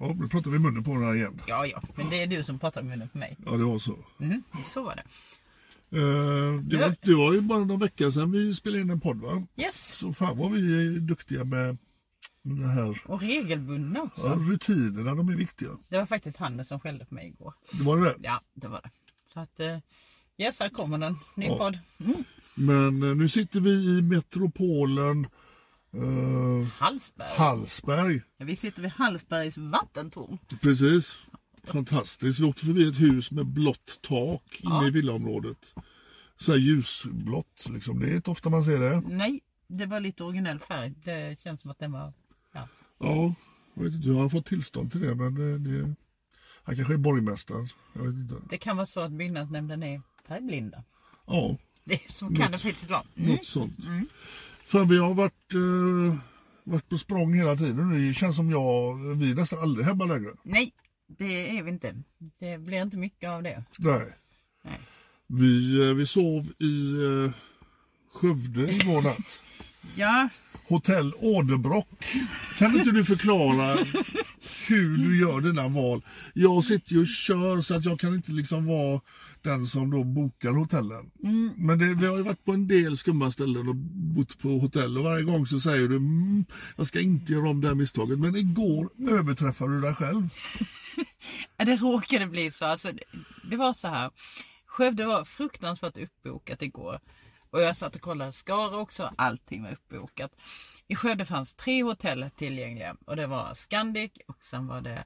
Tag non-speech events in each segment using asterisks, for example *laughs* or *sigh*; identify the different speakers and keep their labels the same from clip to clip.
Speaker 1: Ja, nu pratar vi i munnen på varandra igen.
Speaker 2: Ja, ja, men det är du som pratar med munnen på mig.
Speaker 1: Ja, det var så.
Speaker 2: Mm, så var det.
Speaker 1: Eh, det, var, det var ju bara någon vecka sedan vi spelade in en podd va?
Speaker 2: Yes,
Speaker 1: Så fan vad vi är duktiga med det här.
Speaker 2: och regelbundna också.
Speaker 1: Ja, rutinerna, de är viktiga.
Speaker 2: Det var faktiskt Hannes som skällde på mig igår.
Speaker 1: Det var det där.
Speaker 2: Ja, det var det. Så att, eh, yes, här kommer den. Ny
Speaker 1: Ja.
Speaker 2: podd. Mm.
Speaker 1: Men eh, nu sitter vi i metropolen eh,
Speaker 2: Hallsberg.
Speaker 1: Hallsberg.
Speaker 2: Vi sitter vid Hallsbergs vattentorn.
Speaker 1: Precis. Fantastiskt. Vi åkte förbi ett hus med blått tak inne
Speaker 2: Ja.
Speaker 1: i villaområdet. Så här ljusblått liksom. Det är inte ofta man ser det.
Speaker 2: Nej, det var lite originell färg. Det känns som att den var... Ja.
Speaker 1: Ja, jag vet inte hur han har fått tillstånd till det men eh, det, han kanske är borgmästaren. Jag vet inte.
Speaker 2: Det kan vara så att byggnadsnämnden är färgblinda.
Speaker 1: Ja,
Speaker 2: Det, så kan det faktiskt vara. Mm.
Speaker 1: något sånt. För vi har varit, eh, varit på språng hela tiden nu. Det känns som jag, vi är nästan aldrig hemma längre.
Speaker 2: Nej, det är vi inte. Det blir inte mycket av det.
Speaker 1: Nej.
Speaker 2: Nej.
Speaker 1: Vi, eh, vi sov i eh, Skövde igår natt.
Speaker 2: Ja,
Speaker 1: Hotell Åderbrock. Kan inte du förklara hur du gör dina val? Jag sitter ju och kör så att jag kan inte liksom vara den som då bokar hotellen. Men det, vi har ju varit på en del skumma ställen och bott på hotell och varje gång så säger du mm, jag ska inte göra om det här misstaget. Men igår överträffade du dig själv.
Speaker 2: Ja, Det råkade bli så. Alltså, det- det var så här. Skövde var fruktansvärt uppbokat igår. Och jag satt och kollade Skara också. Allting var uppbokat. I Skövde fanns tre hotell tillgängliga. Och det var Scandic och sen var det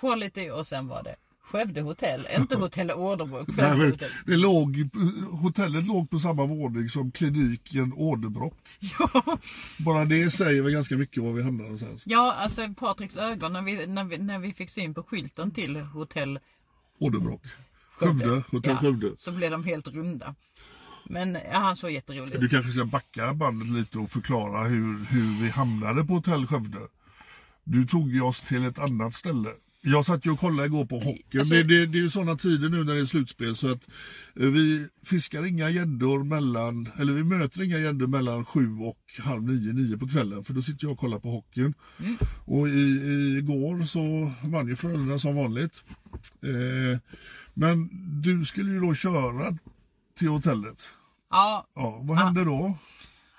Speaker 2: Quality och sen var det Skövde hotell.
Speaker 1: *laughs*
Speaker 2: Inte hotell Åderbro.
Speaker 1: Det, här,
Speaker 2: Skövde
Speaker 1: var-
Speaker 2: hotell. *laughs*
Speaker 1: det låg, hotellet låg på samma våning som kliniken Åderbrock.
Speaker 2: Ja,
Speaker 1: Bara det säger väl ganska mycket var vi hamnar någonstans.
Speaker 2: ja alltså Patriks ögon när vi, när, vi, när vi fick syn på skylten till hotell
Speaker 1: Åderbrock. Skövde, hotell
Speaker 2: ja,
Speaker 1: Skövde.
Speaker 2: Så blev de helt runda. Men ja, han såg jätterolig
Speaker 1: Du
Speaker 2: ut.
Speaker 1: kanske ska backa bandet lite och förklara hur, hur vi hamnade på Hotell Skövde. Du tog ju oss till ett annat ställe. Jag satt ju och kollade igår på hockeyn.
Speaker 2: Alltså-
Speaker 1: Det, det, det är ju sådana tider nu när det är slutspel så att eh, vi fiskar inga gäddor mellan, eller vi möter inga gäddor mellan sju och halv nio, nio på kvällen för då sitter jag och kollar på hockeyn. Och i, i, igår så vann ju Frölunda som vanligt. Eh, men du skulle ju då köra till hotellet.
Speaker 2: Ja,
Speaker 1: Ja, vad hände då?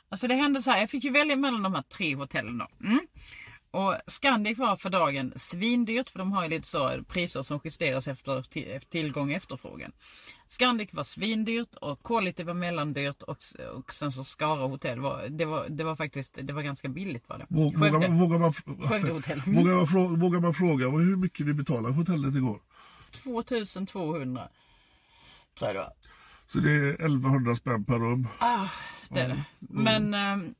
Speaker 2: Alltså det hände så här, jag fick ju välja mellan de här tre hotellen då. Mm. Och Scandic var för dagen svindyrt för de har ju lite så priser som justeras efter ti- tillgång och efterfrågan. Scandic var svindyrt och Quality var mellandyrt och, s- och sen så Skara hotell var, det var, det var faktiskt, det var ganska billigt var det.
Speaker 1: Vå- Vågar
Speaker 2: Skövde.
Speaker 1: man, vågar, man,
Speaker 2: Skövdehotell.
Speaker 1: vågar, man fråga, vågar man fråga vad- hur mycket vi betalade för hotellet igår?
Speaker 2: 2200 tror jag det var.
Speaker 1: Så det är 1100 spänn per rum.
Speaker 2: Det är
Speaker 1: Mm.
Speaker 2: det. Men ehm,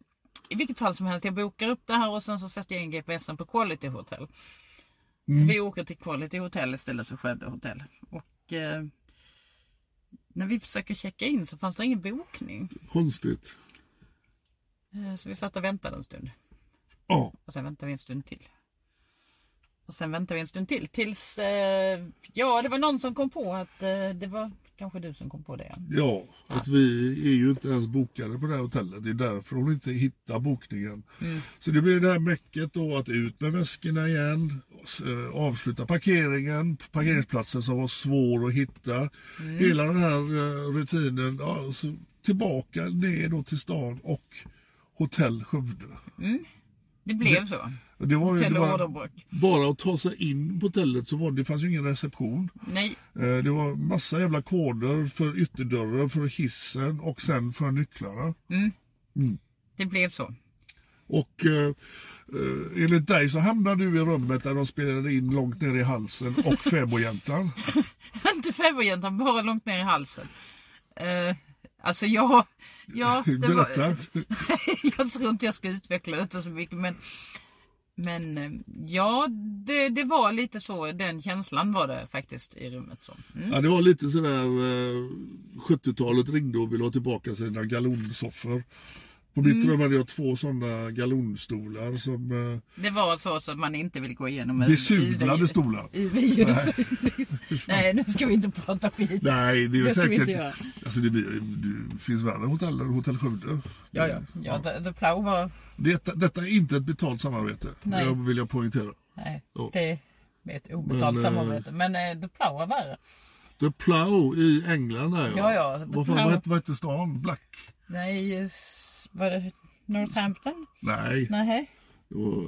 Speaker 2: i vilket fall som helst, jag bokar upp det här och sen så sätter jag in GPSen på Quality Hotel.
Speaker 1: Mm.
Speaker 2: Så vi åker till Quality Hotel istället för Skövde Hotel. Och ehm, eh, när vi försöker checka in så fanns det ingen bokning.
Speaker 1: Konstigt.
Speaker 2: Eh, Så vi satt och väntade en stund.
Speaker 1: Ja,
Speaker 2: Och sen väntade vi en stund till. Och sen väntade vi en stund till tills, eh, ja det var någon som kom på att eh, det var kanske du som kom på det. ja.
Speaker 1: ja, att vi är ju inte ens bokade på det här hotellet. Det är därför hon inte hittar bokningen. Så det blir det här mäcket då att ut med väskorna igen, s- eh, avsluta parkeringen, parkeringsplatsen som var svår att hitta. Hela den här eh, rutinen, ja, så tillbaka ner då till stan och hotell Skövde.
Speaker 2: Det blev så.
Speaker 1: Och Det var ju
Speaker 2: Hotell
Speaker 1: det var,
Speaker 2: Åderbrock.
Speaker 1: bara att ta sig in på hotellet så var det, det fanns ju ingen reception.
Speaker 2: Nej,
Speaker 1: Eh, Det var massa jävla koder för ytterdörren, för hissen och sen för nycklarna.
Speaker 2: det blev så.
Speaker 1: Och eh, eh, enligt dig så hamnade du i rummet där de spelade in långt ner i halsen
Speaker 2: *laughs*
Speaker 1: och fäbodjäntan.
Speaker 2: Inte fäbodjäntan, bara långt ner i halsen. Eh, alltså jag... Ja, det
Speaker 1: Berätta.
Speaker 2: Var, *laughs* Mm. jag tror inte jag ska utveckla detta så mycket men... Men eh, ja, det, det var lite så. Den känslan var det faktiskt i rummet. Så. Mm.
Speaker 1: Ja, det var lite sådär eh, 70-talet ringde och ville ha tillbaka sina galonsoffor. På mitt
Speaker 2: Mm.
Speaker 1: rum hade jag två sådana galonstolar som eh,
Speaker 2: Det var så som man inte vill gå igenom. en
Speaker 1: besudlade
Speaker 2: UV
Speaker 1: stolar.
Speaker 2: UV-ljus. Nej, nu ska vi inte prata skit.
Speaker 1: Nej, det är
Speaker 2: Det ska vi
Speaker 1: säkert...
Speaker 2: inte göra.
Speaker 1: Alltså det, det finns värre hotell än Hotell Skövde.
Speaker 2: Ja, ja. ja the, the Plow var...
Speaker 1: Detta, detta är inte ett betalt samarbete,
Speaker 2: Nej.
Speaker 1: det vill jag poängtera.
Speaker 2: Nej,
Speaker 1: Ja.
Speaker 2: det är ett obetalt
Speaker 1: Men, eh,
Speaker 2: samarbete. Men eh, The Plow var värre.
Speaker 1: The Plow i England där
Speaker 2: Ja, ja, The
Speaker 1: Vad fan
Speaker 2: Plow.
Speaker 1: vad hette- vad hette stan? Black?
Speaker 2: Nej, s- var det Northampton?
Speaker 1: Nej.
Speaker 2: Nej.
Speaker 1: Och,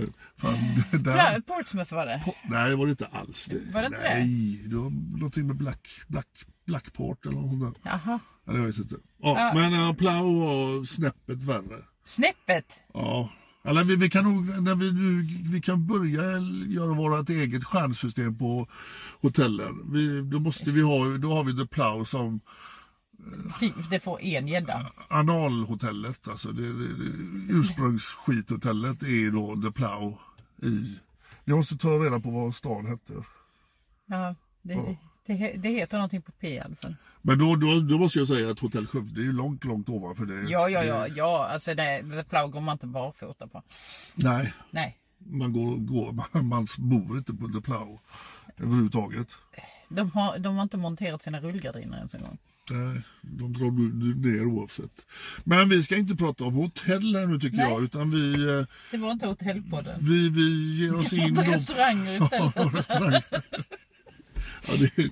Speaker 1: eh, *laughs* fan, det där.
Speaker 2: Pla- Portsmouth var det.
Speaker 1: Nej, det var det inte alls. Det.
Speaker 2: Var det inte
Speaker 1: Nej, det var någonting med Black, Black, Blackport eller något sånt där.
Speaker 2: Jaha.
Speaker 1: Eller jag vet inte. Ja, Men uh, Plow var snäppet värre.
Speaker 2: Snäppet!
Speaker 1: Ja. Eller vi, vi kan nog, när vi, nu, vi kan börja göra vårt eget stjärnsystem på hotellen. Vi, då måste vi ha, då har vi The Plow som
Speaker 2: Fy, Det får en gädda.
Speaker 1: analhotellet, alltså det, det, det, ursprungsskithotellet är ju då The Plow i. Jag måste ta reda på vad stan hette.
Speaker 2: Ja, det, det, det, det heter någonting på P i alla fall.
Speaker 1: Men då, då, då måste jag säga att Hotell Skövde är ju långt, långt ovanför det.
Speaker 2: Ja, ja, ja. ja. Alltså det, The Plow går man inte barfota på.
Speaker 1: Nej,
Speaker 2: Nej.
Speaker 1: man, går, går, *laughs* man, man bor inte på The Plow överhuvudtaget.
Speaker 2: De har, de har inte monterat sina rullgardiner ens en gång.
Speaker 1: Nej, de drar du du ner oavsett. Men vi ska inte prata om hotell här nu tycker
Speaker 2: Nej.
Speaker 1: jag. Utan vi, eh,
Speaker 2: Det var inte hotellpodden.
Speaker 1: vi, vi ger oss in
Speaker 2: På *laughs* restauranger istället.
Speaker 1: Ja, restaurang. Ja, det,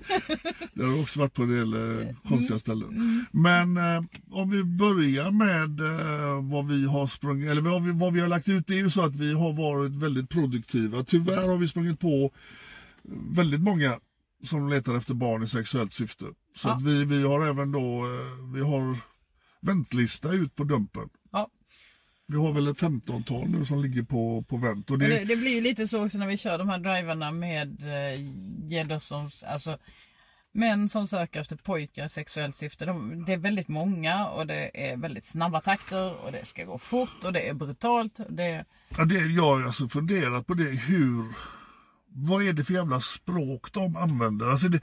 Speaker 1: det har jag också varit på en del eh, konstiga ställen. Men eh, om vi börjar med eh, vad vi har sprungit, eller vad vi, vad vi har lagt ut. Det är ju så att vi har varit väldigt produktiva. Tyvärr har vi sprungit på väldigt många som letar efter barn i sexuellt syfte. Så
Speaker 2: Ja.
Speaker 1: att vi, vi har även då, eh, vi har väntlista ut på Dumpen.
Speaker 2: Ja.
Speaker 1: Vi har väl ett 15-tal nu som ligger på, på vänt. Och det,
Speaker 2: Men det, det blir ju lite så också när vi kör de här drivarna med eh, gäddor som, alltså män som söker efter pojkar i sexuellt syfte. De, det är väldigt många och det är väldigt snabba takter och det ska gå fort och det är brutalt. Och det,
Speaker 1: Ja, det, jag har alltså funderat på det, hur... Vad är det för jävla språk de använder? Alltså det,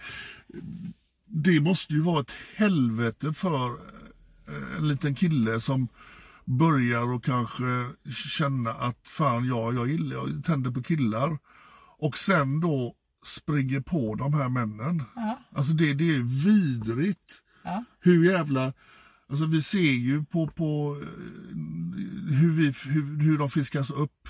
Speaker 1: det måste ju vara ett helvete för eh, en liten kille som börjar och kanske känna att fan, ja, jag gillar, jag tänder på killar. Och sen då springer på de här männen. Alltså det, det är vidrigt. Hur jävla... Alltså vi ser ju på, på eh, hur, vi, hur, hur de fiskas upp.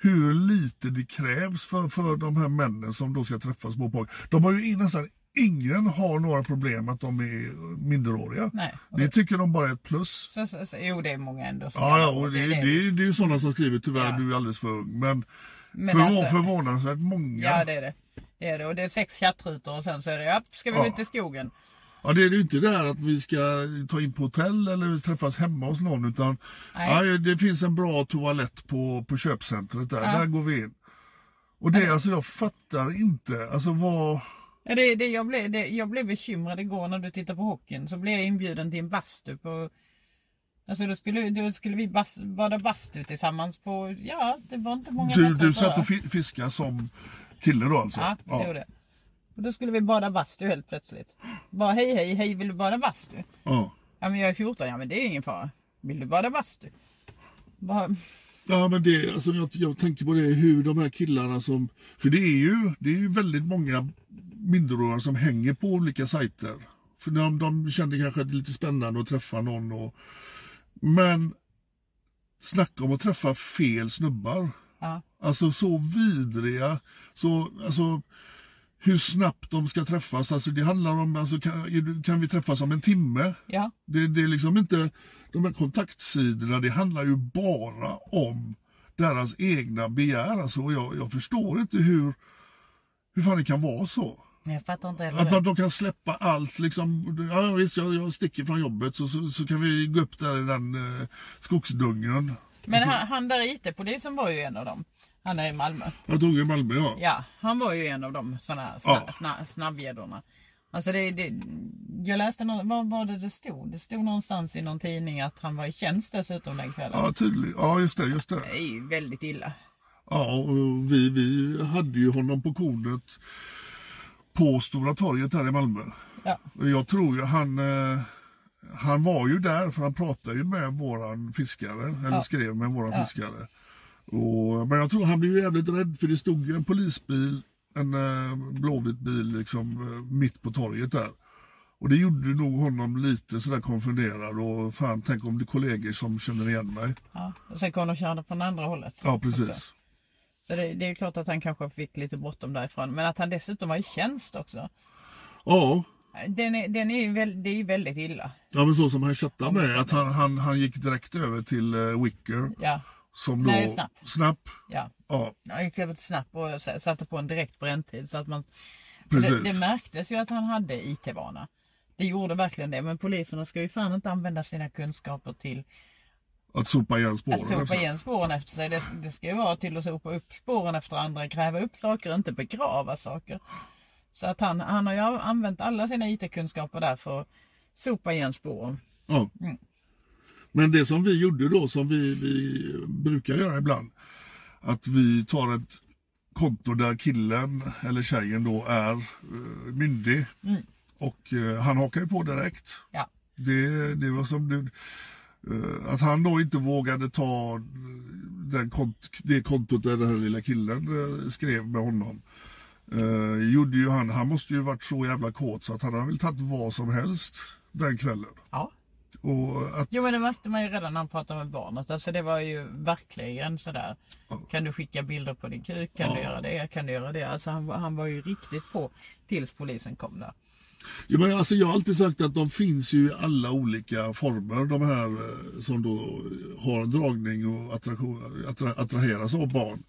Speaker 1: Hur lite det krävs för, för de här männen som då ska träffa små pojkar. De har ju in- nästan ingen har några problem att de är minderåriga.
Speaker 2: nej.
Speaker 1: Det tycker de bara är ett plus.
Speaker 2: Så, så, så, jo det är många ändå som
Speaker 1: Ja, ja och det, det,
Speaker 2: är
Speaker 1: är- det är ju sådana som skriver tyvärr du är alldeles för ung. Men,
Speaker 2: Men
Speaker 1: förvå-
Speaker 2: alltså-
Speaker 1: förvånansvärt många.
Speaker 2: Ja det är det. Det är det och det är sex chattrutor och sen så är det ja, ska vi
Speaker 1: Ja.
Speaker 2: ut i skogen.
Speaker 1: Ja, det är ju inte det här att vi ska ta in på hotell eller vi träffas hemma hos någon. Utan
Speaker 2: Nej.
Speaker 1: ja, det finns en bra toalett på, på köpcentret där. Där går vi in. Och det, alltså jag fattar inte. Alltså vad...
Speaker 2: Ja, Det, det, jag, blev, det, jag blev bekymrad igår när du tittade på hockeyn. Så blev jag inbjuden till en bastu på... Alltså då skulle, då skulle vi bas, bada bastu tillsammans på... Ja, det var inte många
Speaker 1: Du,
Speaker 2: nätter
Speaker 1: du
Speaker 2: att
Speaker 1: satt
Speaker 2: dra.
Speaker 1: och fi- fiskade som kille då alltså?
Speaker 2: Ja, det gjorde jag. Och då skulle vi bada bastu helt plötsligt. Bara hej, hej, hej, vill du bada bastu?
Speaker 1: ja.
Speaker 2: Ja, men jag är 14. Ja, men det är ingen fara. Vill du bada bastu? Bara,
Speaker 1: Ja, men det, alltså, jag, jag tänker på det hur de här killarna som... För det är ju, det är ju väldigt många minderåriga som hänger på olika sajter. För de, de kände kanske att det är lite spännande att träffa någon. Och, men snacka om att träffa fel snubbar.
Speaker 2: ja.
Speaker 1: Alltså så vidriga. Så, alltså, hur snabbt de ska träffas. Alltså, det handlar om, alltså, kan, är du- kan vi träffas om en timme?
Speaker 2: ja.
Speaker 1: Det, det är liksom inte, de här kontaktsidorna, det handlar ju bara om deras egna begär. Alltså, och jag, jag förstår inte hur, hur fan det kan vara så.
Speaker 2: Jag fattar inte heller
Speaker 1: Att de,
Speaker 2: det.
Speaker 1: de kan släppa allt liksom. Ja visst, jag, jag sticker från jobbet så, så, så kan vi gå upp där i den eh, skogsdungen.
Speaker 2: Men han, han där IT-polisen var ju en av dem. Han är i Malmö.
Speaker 1: Jag tog i Malmö ja.
Speaker 2: Ja, han var ju en av de såna här sna,
Speaker 1: Ja.
Speaker 2: sna, snabbgäddorna. Alltså det, det, jag läste, nå- vad var det det stod? Det stod någonstans i någon tidning att han var i tjänst dessutom den kvällen.
Speaker 1: Ja tydligt, ja just det, just det.
Speaker 2: Det är ju väldigt illa.
Speaker 1: Ja, och vi, vi hade ju honom på kornet på Stora torget här i Malmö.
Speaker 2: Ja,
Speaker 1: Jag tror ju han, eh, han var ju där för han pratade ju med våran fiskare, eller skrev med våran fiskare. Och, men jag tror han blev ju jävligt rädd för det stod ju en polisbil, en eh, blåvit bil liksom eh, mitt på torget där. Och det gjorde nog honom lite sådär konfunderad och fan tänk om det är kollegor som känner igen mig.
Speaker 2: ja. Och sen kom de och körde från andra hållet.
Speaker 1: Ja precis.
Speaker 2: Också. Så det, det är ju klart att han kanske fick lite bråttom därifrån. Men att han dessutom var i tjänst också.
Speaker 1: Ja,
Speaker 2: Den är, den är ju väl, det är ju väldigt illa.
Speaker 1: ja men så som han chattade
Speaker 2: men
Speaker 1: med
Speaker 2: så-
Speaker 1: att han, han, han gick direkt över till eh, Wicker.
Speaker 2: Ja,
Speaker 1: Som då,
Speaker 2: Nej, Snapp.
Speaker 1: Snapp.
Speaker 2: ja.
Speaker 1: Ja,
Speaker 2: Han gick över till Snabb och s- satte på en direkt bränntid. Så att man,
Speaker 1: precis.
Speaker 2: det, det märktes ju att han hade IT-vana. Det gjorde verkligen det. Men poliserna ska ju fan inte använda sina kunskaper till
Speaker 1: Att sopa igen spåren. alltså.
Speaker 2: att sopa
Speaker 1: efter.
Speaker 2: igen spåren efter sig. Det, det ska ju vara till att sopa upp spåren efter andra, gräva upp saker, inte begrava saker. Så att han, han har ju använt alla sina IT-kunskaper där för att sopa igen spåren.
Speaker 1: Ja.
Speaker 2: Mm.
Speaker 1: Men det som vi gjorde då, som vi, vi brukar göra ibland, att vi tar ett konto där killen eller tjejen då är eh, myndig.
Speaker 2: Mm.
Speaker 1: Och eh, han hakar ju på direkt.
Speaker 2: Ja.
Speaker 1: Det, det var som du, eh, att han då inte vågade ta eh, den kont, det kontot där den här lilla killen eh, skrev med honom. Eh, gjorde ju han, han måste ju varit så jävla kåt så att han hade väl tagit vad som helst den kvällen.
Speaker 2: Ja.
Speaker 1: Och att,
Speaker 2: Jo men det märkte man ju redan när han pratade med barnet. Alltså det var ju verkligen sådär. Kan du skicka bilder på din kuk? Kan du göra det? Kan du göra det? Alltså han, var- han var ju riktigt på tills polisen kom där.
Speaker 1: ja, men alltså jag har alltid sagt att de finns ju i alla olika former. De här eh, som då har dragning och attraktion, attra, attraheras av barn.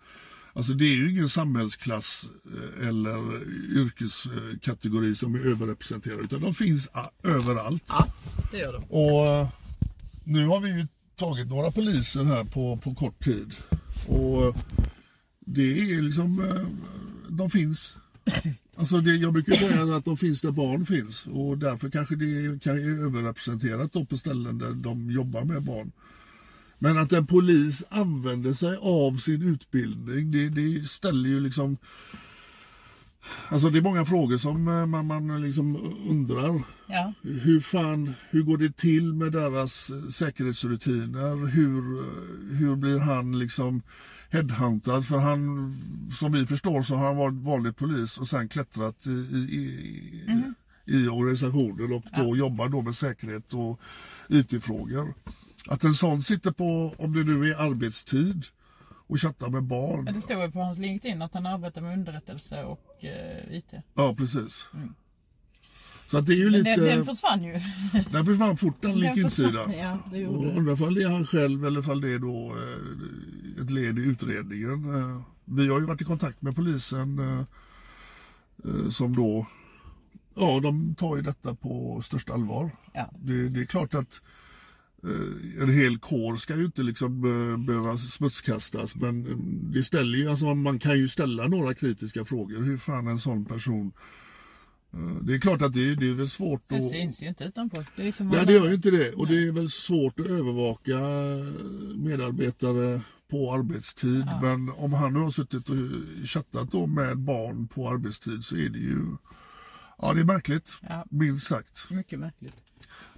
Speaker 1: Alltså det är ju ingen samhällsklass eh, eller yrkeskategori som är överrepresenterad utan de finns a- överallt.
Speaker 2: Ja, det gör de.
Speaker 1: Och eh, nu har vi ju tagit några poliser här på, på kort tid. Och eh, det är liksom, eh, de finns. Alltså det, jag brukar säga att de finns där barn finns och därför kanske det kan är överrepresenterat då på ställen där de jobbar med barn. Men att en polis använder sig av sin utbildning, det, det ställer ju liksom... Alltså det är många frågor som eh, man, man liksom undrar.
Speaker 2: Ja.
Speaker 1: Hur fan, hur går det till med deras eh, säkerhetsrutiner? Hur, eh, hur blir han liksom headhuntad? För han, som vi förstår så har han varit vanlig polis och sen klättrat i, i, i,
Speaker 2: Mhm.
Speaker 1: i organisationer och då jobbar då med säkerhet och IT-frågor. Att en sån sitter på, om det nu är arbetstid, och chattar med barn.
Speaker 2: Men Det stod ju på hans LinkedIn att han arbetar med underrättelse och eh, IT.
Speaker 1: Ja, precis. Så att det är ju
Speaker 2: Mm. Men
Speaker 1: lite...
Speaker 2: den, den försvann
Speaker 1: *laughs*
Speaker 2: ju.
Speaker 1: Den försvann fort den
Speaker 2: Den
Speaker 1: LinkedIn-sidan.
Speaker 2: försvann, ja, det gjorde
Speaker 1: Och
Speaker 2: den.
Speaker 1: Undrar ifall det är han själv eller ifall det är då eh, ett led i utredningen. Eh, Vi har ju varit i kontakt med polisen eh, eh, som då, ja de tar ju detta på största allvar.
Speaker 2: Ja.
Speaker 1: Det, det är klart att eh, en hel kår ska ju inte liksom eh, behöva smutskastas men eh, det ställer ju, alltså man- man kan ju ställa några kritiska frågor. Hur fan en sån person eh, det är klart att det, är- det är väl svårt
Speaker 2: Den
Speaker 1: att...
Speaker 2: syns ju inte utanpå. Det är som
Speaker 1: Nej,
Speaker 2: alla-
Speaker 1: det gör ju inte det. Och det är väl svårt att övervaka eh, medarbetare på arbetstid. Men om han nu har suttit och chattat då med barn på arbetstid så är det ju... Ja, det är märkligt.
Speaker 2: Ja.
Speaker 1: Minst sagt.
Speaker 2: Mycket märkligt.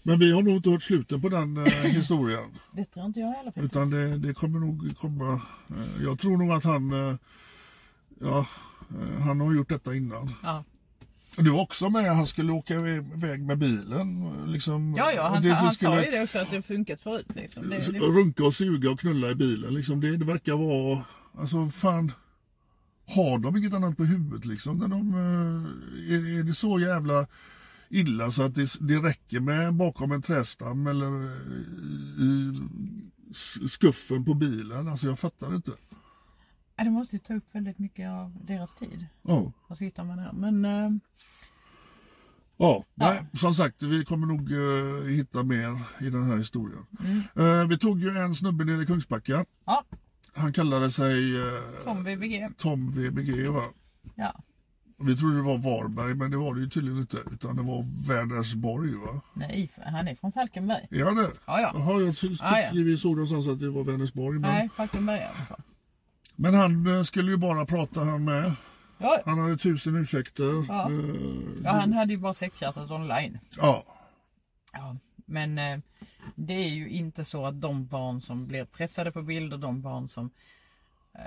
Speaker 1: Men vi har nog inte hört slutet på
Speaker 2: *laughs*
Speaker 1: den eh, historien.
Speaker 2: Det tror inte jag i alla fall.
Speaker 1: Utan det, det kommer nog komma. Eh, jag tror nog att han, eh, ja, eh, han har gjort detta innan.
Speaker 2: Ja.
Speaker 1: Du var också med, han skulle åka iv- iväg med bilen. eh, Liksom,
Speaker 2: Ja, ja, han,
Speaker 1: Det
Speaker 2: sa,
Speaker 1: som
Speaker 2: han sa
Speaker 1: skulle- Mm.
Speaker 2: ju det också att det har funkat förut. Liksom. Det, det,
Speaker 1: Runka och suga och knulla i bilen liksom. Det, det verkar vara, alltså fan. Har de inget annat på huvudet liksom? När de, eh, är, är det så jävla illa så att det, det räcker med bakom en trästam eller eh, i s- skuffen på bilen? Alltså jag fattar inte.
Speaker 2: Ja, det måste ju ta upp väldigt mycket av deras tid.
Speaker 1: Ja,
Speaker 2: Och så hittar man det här. Men eh,
Speaker 1: ja. Nej, som sagt vi kommer nog eh, hitta mer i den här historien. Eh, vi tog ju en snubbe nere i Kungsbacka.
Speaker 2: ja,
Speaker 1: Han kallade sig eh,
Speaker 2: Tom VBG.
Speaker 1: Tom VBG va?
Speaker 2: Ja,
Speaker 1: Vi trodde det var Varberg, men det var det ju tydligen inte. Utan det var Vänersborg va?
Speaker 2: nej, för han är från Falkenberg.
Speaker 1: Är han det?
Speaker 2: Ja, ja.
Speaker 1: Jaha, jag ty- tyckte
Speaker 2: Ja, ja.
Speaker 1: vi såg någonstans att det var Vänersborg. Men,
Speaker 2: Nej, Falkenberg i alla fall.
Speaker 1: men han eh, skulle ju bara prata han med.
Speaker 2: Ja,
Speaker 1: Han hade tusen ursäkter. Ja.
Speaker 2: ja, han hade ju bara sexchattat online.
Speaker 1: ja.
Speaker 2: Ja, men eh, det är ju inte så att de barn som blir pressade på bilder, de barn som eh,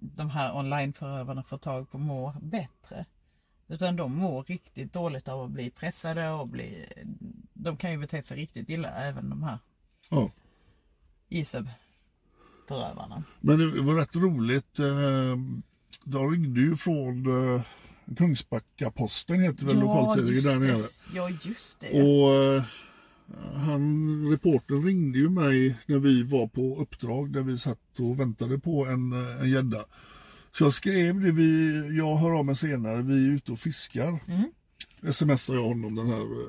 Speaker 2: de här onlineförövarna får tag på mår bättre. Utan de mår riktigt dåligt av att bli pressade och bli... De kan ju bete sig riktigt illa även de här
Speaker 1: ja.
Speaker 2: ISEB-förövarna.
Speaker 1: Men det var rätt roligt. eh, De ringde ju från eh, Kungsbacka-Posten heter väl lokaltidningen där nere.
Speaker 2: det. Ja, just det.
Speaker 1: Och eh, han, reportern ringde ju mig när vi var på uppdrag, när vi satt och väntade på en eh, en gädda. så jag skrev det, vi, jag hör av mig senare, vi är ute och fiskar.
Speaker 2: Mm.
Speaker 1: Smsar jag honom, den här eh,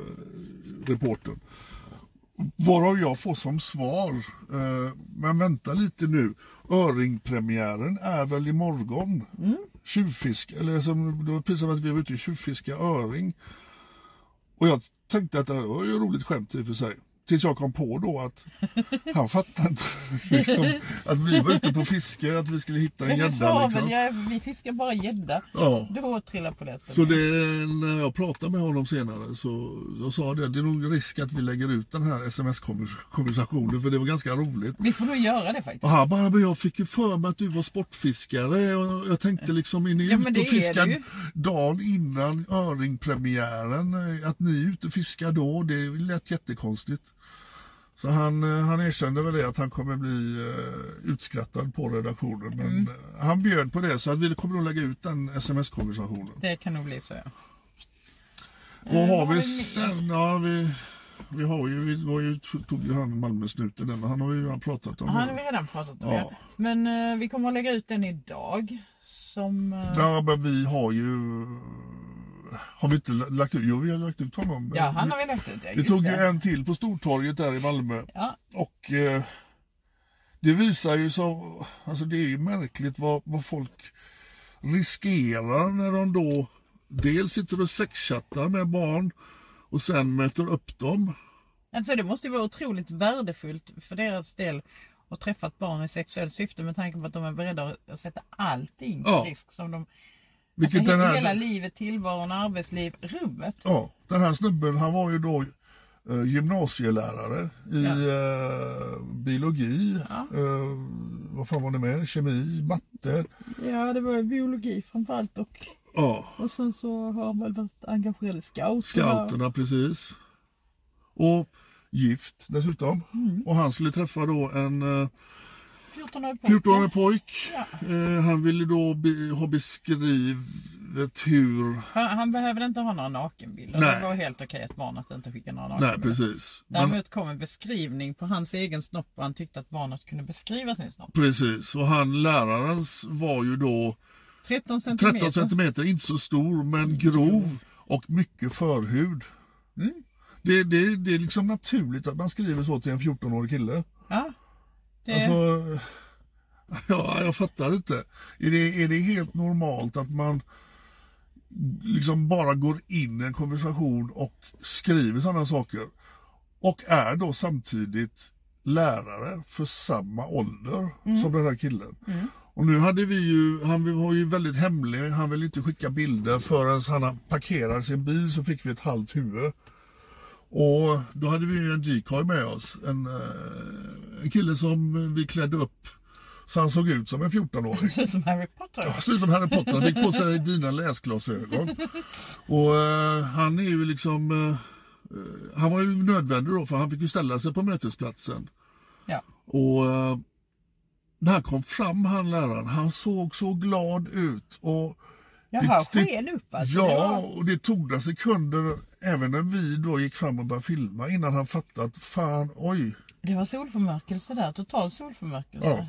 Speaker 1: reportern. Varav jag får som svar, eh, men vänta lite nu, öringpremiären är väl imorgon? Mm. Tjuvfisk, eller som, det var precis som att vi var ute och tjuvfiska öring. Och jag tänkte att det här var ju ett roligt skämt i och för sig. Tills jag kom på då att han fattade inte liksom, att vi var ute på fiske, att vi skulle hitta en
Speaker 2: Men du
Speaker 1: gädda.
Speaker 2: sa
Speaker 1: Liksom.
Speaker 2: väl, jag, vi fiskar bara gädda.
Speaker 1: Ja.
Speaker 2: Då trillar polletten
Speaker 1: Så
Speaker 2: ner.
Speaker 1: det, när jag pratade med honom senare så jag sa det, det är nog risk att vi lägger ut den här sms-konversationen för det var ganska roligt.
Speaker 2: Vi får nog göra det faktiskt.
Speaker 1: Och han bara, men jag fick ju för mig att du var sportfiskare och jag tänkte liksom, är ni
Speaker 2: Ja, men
Speaker 1: ute
Speaker 2: det
Speaker 1: och
Speaker 2: är det
Speaker 1: fiskar
Speaker 2: ju.
Speaker 1: dagen innan öringpremiären? eh, Att ni är ute och fiskar då, det lät jättekonstigt. Så han, eh, han erkände väl det att han kommer bli eh, utskrattad på redaktionen. Men
Speaker 2: Mm.
Speaker 1: eh, han bjöd på det så att vi kommer att lägga ut den sms-konversationen.
Speaker 2: Det kan nog bli så ja.
Speaker 1: Vad har
Speaker 2: har vi
Speaker 1: vi
Speaker 2: mer?
Speaker 1: sen? Ja, vi, vi har ju, vi var ju, tog ju han Malmösnuten där, men han har vi ju redan pratat om.
Speaker 2: Han
Speaker 1: det.
Speaker 2: har vi redan pratat om.
Speaker 1: Ja.
Speaker 2: Ja. Men eh, vi kommer att lägga ut den idag. Som... eh,
Speaker 1: Ja, men vi har ju... Har vi inte lagt ut? Jo, vi har lagt ut honom.
Speaker 2: ja, han har vi lagt ut. Ja,
Speaker 1: vi
Speaker 2: just
Speaker 1: tog ju
Speaker 2: det.
Speaker 1: en till på Stortorget där i Malmö.
Speaker 2: Ja,
Speaker 1: Och eh, det visar ju så... Alltså det är ju märkligt vad, vad folk riskerar när de då dels sitter och sexchattar med barn och sen möter upp dem.
Speaker 2: alltså det måste ju vara otroligt värdefullt för deras del att träffa ett barn i sexuellt syfte med tanke på att de är beredda att sätta allting på
Speaker 1: Ja.
Speaker 2: risk. Som de, alltså,
Speaker 1: Vilket den här...
Speaker 2: Hela livet, tillvaron, arbetsliv, rubbet.
Speaker 1: Ja, den här snubben han var ju då eh, gymnasielärare i eh, biologi. Eh, vad fan var det mer? Kemi, matte.
Speaker 2: Ja, det var ju biologi framförallt och,
Speaker 1: Ja,
Speaker 2: och sen så har han väl varit engagerad i scouterna.
Speaker 1: scouterna precis. Och gift dessutom. Och han skulle träffa då en eh,
Speaker 2: 14-årig pojke.
Speaker 1: 14-årig pojk. Eh, han ville då be, ha beskrivet hur...
Speaker 2: Han, han behövde inte ha några nakenbilder.
Speaker 1: Nej.
Speaker 2: Det var helt okej att barnet inte skickade några
Speaker 1: Nej,
Speaker 2: nakenbilder.
Speaker 1: precis. Men-
Speaker 2: Däremot kom en beskrivning på hans egen snopp och han tyckte att barnet kunde beskriva sin snopp.
Speaker 1: Precis, och han lärarens var ju då
Speaker 2: 13 centimeter. Mm.
Speaker 1: 13 centimeter, inte så stor men grov och mycket förhud. Det, det, det är liksom naturligt att man skriver så till en 14-årig kille.
Speaker 2: Ja. Det,
Speaker 1: Alltså, *laughs* ja, jag fattar inte. Är det, är det helt normalt att man liksom bara går in i en konversation och skriver sådana saker? Och är då samtidigt lärare för samma ålder som den här killen. Och nu hade vi ju, han var ju väldigt hemlig, han ville inte skicka bilder förrän han parkerade sin bil så fick vi ett halvt huvud. Och då hade vi ju en decoy med oss. En, eh, en kille som vi klädde upp så han såg ut som en 14-åring.
Speaker 2: Ser ut som Harry Potter.
Speaker 1: Ja, Ser ut som Harry Potter. Han fick på sig dina läsglasögon. Och eh, han är ju liksom... Eh, eh, han var ju nödvändig då för han fick ju ställa sig på mötesplatsen.
Speaker 2: Ja.
Speaker 1: Och eh, när han kom fram han läraren, han såg så glad ut. Och
Speaker 2: Jaha, sken upp alltså. Det
Speaker 1: Ja,
Speaker 2: var-
Speaker 1: och det tog några sekunder även när vi då gick fram och började filma innan han fattade att fan, oj.
Speaker 2: Det var solförmörkelse där, total solförmörkelse.
Speaker 1: Ja.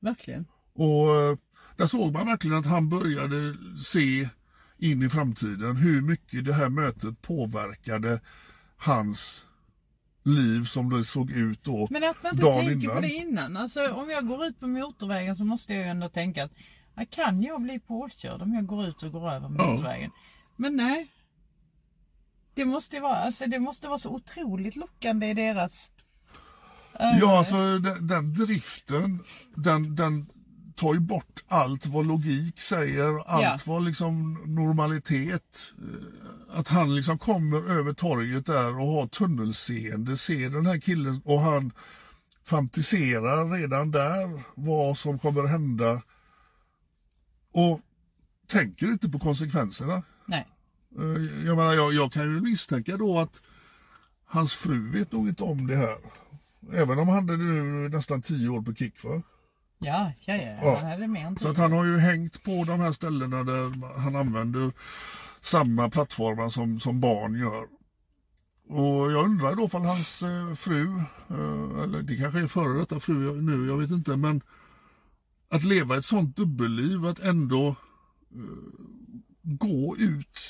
Speaker 2: Verkligen.
Speaker 1: Och eh, där såg man verkligen att han började se in i framtiden hur mycket det här mötet påverkade hans liv som det såg ut då
Speaker 2: Men att man inte tänker på det innan. Alltså, om jag går ut på motorvägen så måste jag ju ändå tänka att "Ja, kan jag bli påkörd om jag går ut och går över
Speaker 1: Ja.
Speaker 2: motorvägen? Men nej. Det måste, ju vara, alltså, det måste vara så otroligt lockande i deras... eh,
Speaker 1: Ja, alltså den, den driften, den, den tar ju bort allt vad logik säger, allt
Speaker 2: Ja.
Speaker 1: vad liksom normalitet. Eh, Att han liksom kommer över torget där och har tunnelseende, ser den här killen och han fantiserar redan där vad som kommer hända. Och tänker inte på konsekvenserna.
Speaker 2: Nej.
Speaker 1: Eh, Jag menar, jag, jag kan ju misstänka då att hans fru vet nog inte om det här. Även om han hade nu nästan tio år på kick va?
Speaker 2: Ja, ja, ja.
Speaker 1: Ja.
Speaker 2: Han hade mer än typ-
Speaker 1: Så att han har ju hängt på de här ställena där han använder samma plattformar som, som barn gör. Och jag undrar då ifall hans eh, fru, eh, eller det kanske är före detta fru jag- nu, jag vet inte, men att leva ett sånt dubbelliv, att ändå eh, gå ut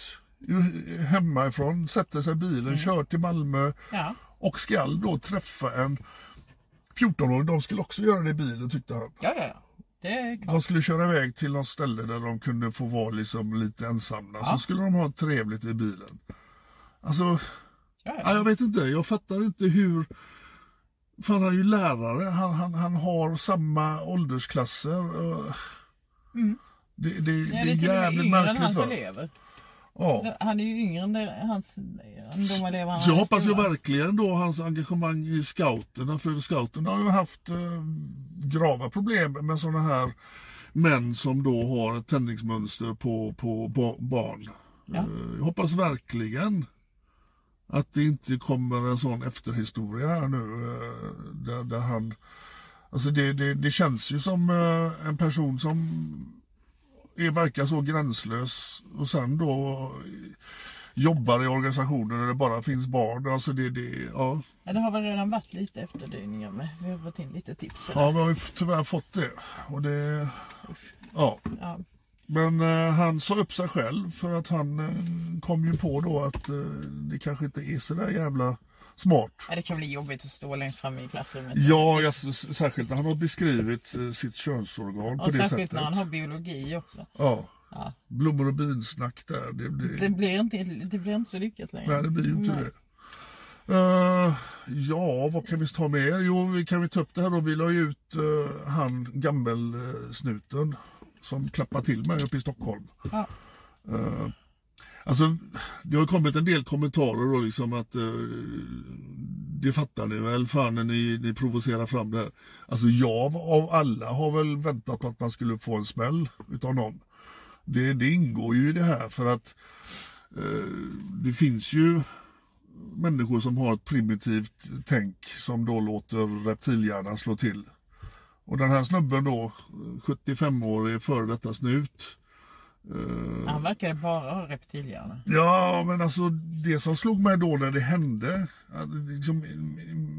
Speaker 1: ur- hemifrån, sätta sig i bilen, kör till Malmö,
Speaker 2: Ja.
Speaker 1: och skall då träffa en 14-åring. De skulle också göra det i bilen tyckte han.
Speaker 2: Ja, ja, ja. Det är klart.
Speaker 1: De skulle köra iväg till något ställe där de kunde få vara liksom lite ensamma. Så skulle de ha trevligt i bilen. Alltså,
Speaker 2: Ja,
Speaker 1: ja,
Speaker 2: ja.
Speaker 1: jag vet inte. Jag fattar inte hur... För han är ju lärare. Han, han, han har samma åldersklasser. eh. Det, det, det
Speaker 2: Mm. Ja,
Speaker 1: är
Speaker 2: det är till och med
Speaker 1: jävligt
Speaker 2: yngre än
Speaker 1: märkligt.
Speaker 2: hans
Speaker 1: va?
Speaker 2: elever.
Speaker 1: Ja.
Speaker 2: Han är ju yngre än det- hans, än de elever han
Speaker 1: Så jag
Speaker 2: hade i
Speaker 1: hoppas ju
Speaker 2: skolan.
Speaker 1: verkligen då hans engagemang i scouterna, för scouterna har ju haft eh, grava problem med sådana här män som då har ett tändningsmönster på, på, ba- barn.
Speaker 2: Ja.
Speaker 1: Eh, jag hoppas verkligen att det inte kommer en sån efterhistoria här nu eh, där, där han... Alltså det, det, det känns ju som eh, en person som är, verkar så gränslös och sen då jobbar i organisationer där det bara finns barn. Alltså det, det, ja.
Speaker 2: Ja, det har väl redan varit lite efterdyningar med. Vi har fått in lite tips.
Speaker 1: ja, vi har ju tyvärr fått det. Och det ja.
Speaker 2: Ja.
Speaker 1: Men eh, han sa upp sig själv för att han eh, kom ju på då att eh, det kanske inte är så där jävla smart.
Speaker 2: Ja, det kan bli jobbigt att stå längst fram i klassrummet.
Speaker 1: Ja, jag- s- särskilt när han har beskrivit eh, sitt könsorgan på
Speaker 2: och
Speaker 1: det
Speaker 2: särskilt
Speaker 1: sättet.
Speaker 2: när han har biologi också.
Speaker 1: Ja.
Speaker 2: Ja.
Speaker 1: Blommor och binsnack där. Det, det,
Speaker 2: Det blir inte, det blir inte så lyckat längre.
Speaker 1: Nej, det blir ju inte
Speaker 2: Nej.
Speaker 1: det. Eh, ja, vad kan vi ta mer? Jo, vi kan vi ta upp det här då. Vi la ju ut eh, han gammelsnuten som klappade till mig uppe i Stockholm.
Speaker 2: Ja.
Speaker 1: Eh, alltså, det har ju kommit en del kommentarer då liksom att eh, det fattar ni väl, fan när ni, ni provocerar fram det här. Alltså jag av alla har väl väntat på att man skulle få en smäll utav någon. Det, det ingår ju i det här för att eh, det finns ju människor som har ett primitivt tänk som då låter reptilhjärnan slå till. Och den här snubben då, 75-årig före detta snut.
Speaker 2: Han verkade bara ha reptilhjärna.
Speaker 1: Ja, men alltså det som slog mig då när det hände, att liksom,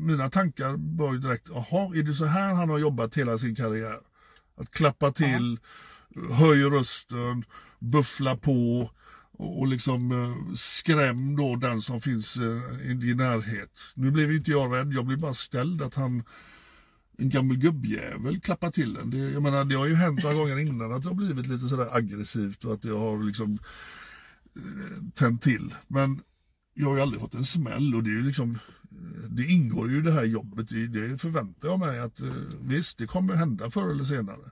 Speaker 1: mina tankar var ju direkt, jaha, är det så här han har jobbat hela sin karriär? Att klappa till, höjer rösten, buffla på och, och liksom eh, skräm då den som finns eh, i din närhet. Nu blev ju inte jag rädd, jag blev bara ställd att han en gammal gubbjävel klappar till en. Det, jag menar, det har ju hänt några gånger innan att det har blivit lite sådär aggressivt och att det har liksom eh, tänt till. Men jag har ju aldrig fått en smäll och det är ju liksom eh, det ingår ju i det här jobbet. Det- Det förväntar jag mig att eh, visst, det kommer hända förr eller senare.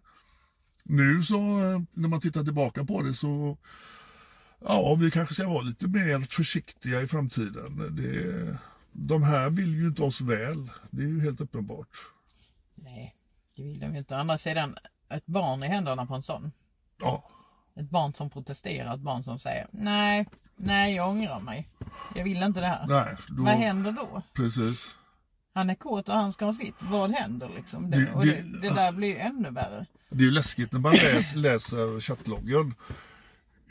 Speaker 1: Nu så eh, när man tittar tillbaka på det så ja, vi kanske ska vara lite mer försiktiga i framtiden. Det, de här vill ju inte oss väl. Det är ju helt uppenbart.
Speaker 2: Nej, det vill de ju inte. Å andra sidan, ett barn i händerna på en sån.
Speaker 1: Ja,
Speaker 2: Ett barn som protesterar, ett barn som säger nej, nej jag ångrar mig. Jag vill inte det här.
Speaker 1: nej. Då,
Speaker 2: Vad händer då?
Speaker 1: Precis.
Speaker 2: Han är kåt och han ska ha sitt. Vad händer liksom? Det,
Speaker 1: Det-
Speaker 2: och det,
Speaker 1: det-
Speaker 2: det där blir ju ännu värre.
Speaker 1: Det är ju läskigt när man läs, läser chattloggen.